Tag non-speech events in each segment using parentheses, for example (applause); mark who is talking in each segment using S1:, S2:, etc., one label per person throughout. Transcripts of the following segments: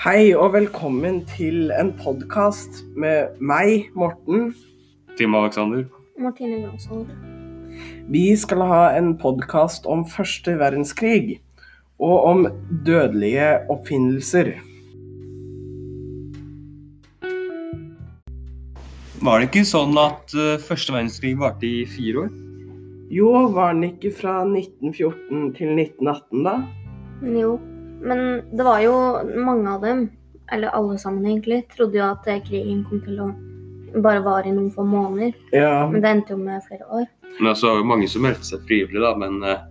S1: Hei og velkommen til en podkast med meg, Morten.
S2: Tim Alexander.
S3: Martine Bransvold.
S1: Vi skal ha en podkast om første verdenskrig og om dødelige oppfinnelser.
S2: Var det ikke sånn at eh, første verdenskrig varte i fire år?
S1: Jo, var den ikke fra 1914 til 1918, da?
S3: Jo, men det var jo mange av dem, eller alle sammen egentlig, trodde jo at eh, krigen kom til å bare vare i noen få måneder.
S1: Ja.
S3: Men det endte jo med flere år.
S2: Men altså, det var jo mange som meldte seg frivillig, da. Men eh,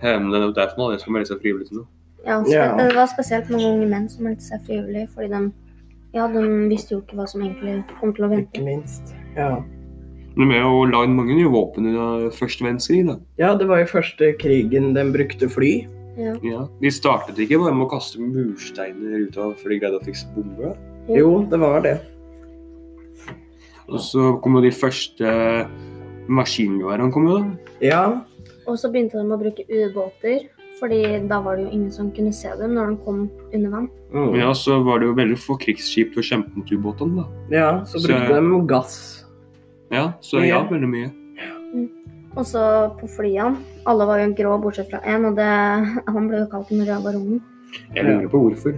S2: eh, det er jo derfor man aldri skal melde seg frivillig til noe.
S3: Ja, spe-
S1: Ja.
S3: Det var spesielt mange unge menn som meldte seg frivillig, fordi de, ja, de visste jo ikke hva som egentlig kom til å
S1: Ikke
S3: vente.
S1: minst. Ja.
S2: Men vi har jo lagd mange nye våpen under første verdenskrig, da.
S1: ja, det var jo første krigen den brukte fly.
S3: Ja.
S2: Ja. De startet ikke bare med å kaste mursteiner ut av før de greide å fikse bomber. da.
S1: Jo, det var det.
S2: Og så kom jo de første maskingeværene, kom jo da.
S1: Ja.
S3: Og så begynte de å bruke ubåter, fordi da var det jo ingen som kunne se dem når de kom under vann.
S1: Mm.
S2: Men ja, så var det jo veldig få krigsskip til å kjempe mot ubåtene, da.
S1: ja så brukte
S2: Så-
S1: de gass.
S2: Ja, så
S1: Mye.
S2: ja, veldig mye.
S3: Og så på flyene. Alle var jo grå, bortsett fra én, og det, (laughs) han ble jo kalt den røde baronen. (laughs)
S2: Jeg lurer på hvorfor.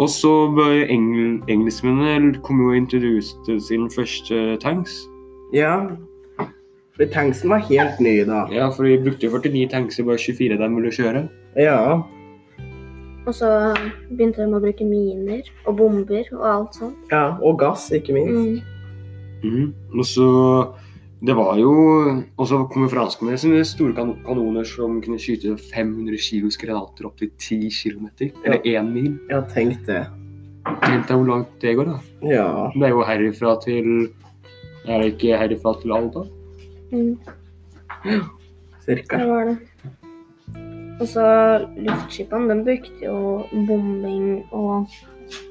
S2: Og så var engel, engelskmennene kom jo og introducerte sin første tanks.
S1: Ja. For tanksen var helt ny da.
S2: Ja, for de brukte jo 49 tanks og bare 24 av dem ville kjøre.
S1: Ja.
S3: Og så begynte de å bruke miner og bomber og alt sånt.
S1: ja. Og gass, ikke minst.
S3: Mm.
S2: Mhm. Og så det var jo Og så kom jo franskmennene sine store kan kanoner som kunne skyte 500 kilos granater opp til 10 km. Eller 1 mil.
S3: Mm.
S1: Jeg har tenkt det.
S2: Tenk deg hvor langt det går, da.
S1: Ja.
S2: Det er jo herifra til Er det ikke herifra til Alta?
S3: Mm.
S1: Cirka.
S3: Det var det. Og så luftskipene, de brukte jo bombing og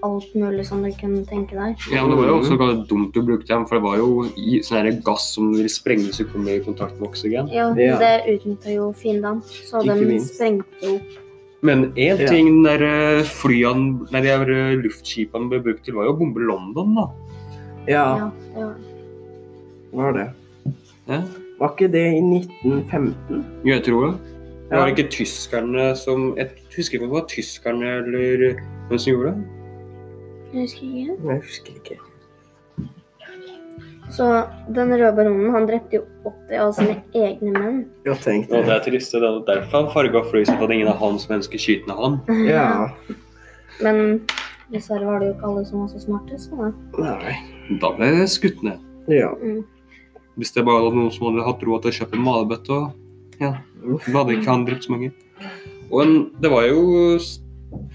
S3: alt mulig som du kunne tenke deg.
S2: Ja, men Det var jo også ganske dumt å bruke dem, for det var jo i sånn her gass som vil sprenge hvis du kommer i kontakt med oksygen.
S3: Ja,
S1: Ja.
S3: Det utnytta jo fiendene, så
S1: Ikke
S3: de
S1: minst.
S3: sprengte jo opp.
S2: Men én
S1: Ja.
S2: ting der eh, flyene, nei, de her eh, luftskipene ble brukt til, var jo å bombe London, da.
S1: Ja,
S3: Ja, det
S1: var
S3: var
S1: det.
S2: Ja,
S1: Var ikke det i 1915?
S2: jeg tror det. Det
S1: Ja.
S2: var ikke tyskerne som Jeg husker ikke om det var tyskerne eller eh, hvem som gjorde det.
S3: Jeg husker ikke.
S1: Nei, Jeg husker ikke.
S3: Så den røde baronen han drepte jo 80 av sine egne menn.
S1: Jeg har tenkt
S2: Og det
S1: det.
S2: er trist. Det er derfor han farga fløysa for at ingen av hans mennesker skyter ned han.
S1: Ja.
S3: (laughs) Men dessverre var det jo ikke alle som var så smarte. Så da.
S1: Nei.
S2: Da ble det skutt ned.
S1: Ja.
S3: Mm.
S2: Hvis det bare var noen som hadde hatt råd til å kjøpe en malebøtte og ja, da hadde ikke han drept så mange. Og en, det var jo s-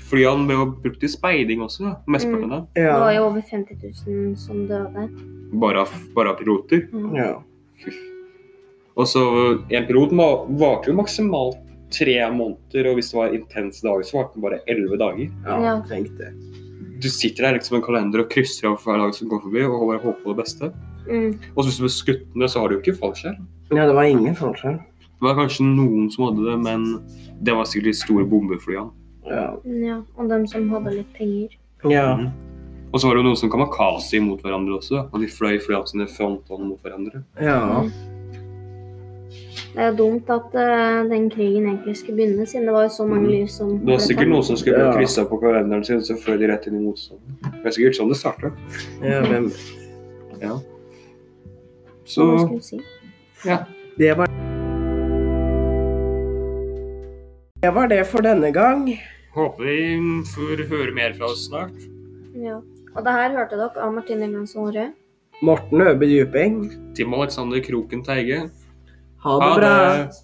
S2: Flyene ble jo brukt til speiding også, da, mesteparten av dem.
S3: Det var
S1: Ja.
S3: jo over 50 000 som døde.
S2: Bare av, bare av piloter.
S3: Mm.
S1: ja.
S2: Og så En pilot ma- varte jo maksimalt tre måneder, og hvis det var intense dager, så varte den bare elleve dager.
S1: Ja,
S3: Ja.
S1: jeg tenkte det.
S2: Du sitter der liksom med en kalender og krysser av for hver dag som går forbi, og bare håper på det beste.
S3: Mm.
S2: Og så hvis du blir skutt ned, så har du jo ikke fallskjerm.
S1: Ja, det var ingen forskjell.
S2: Det var kanskje noen som hadde det, men det var sikkert de store bombeflyene.
S1: Ja.
S3: Ja, og dem som hadde litt penger.
S1: ja.
S2: Mhm. Og så var det jo noen som kamikaze mot hverandre også, og de fløy flyene sine frontene mot hverandre.
S1: Ja.
S3: Det er jo dumt at eh, den krigen egentlig skulle begynne, siden det var jo så mange liv som
S2: Mm. Det var sikkert noen som skulle
S1: Ja.
S2: krysse av på kalenderen sin, så fløy de rett inn i motstanden. Det er sikkert sånn det startet.
S1: ja men
S2: Så
S1: Sånn
S3: Hva skulle jeg si?
S2: ja.
S1: det var Det var det for denne gang.
S2: Håper vi får høre mer fra oss snart.
S3: Ja. Og det her hørte dere av Martine Glansson Rød.
S1: Morten Øbe Djupeng,
S2: Tim Alexander Kroken Teige.
S1: ha det bra.
S2: det.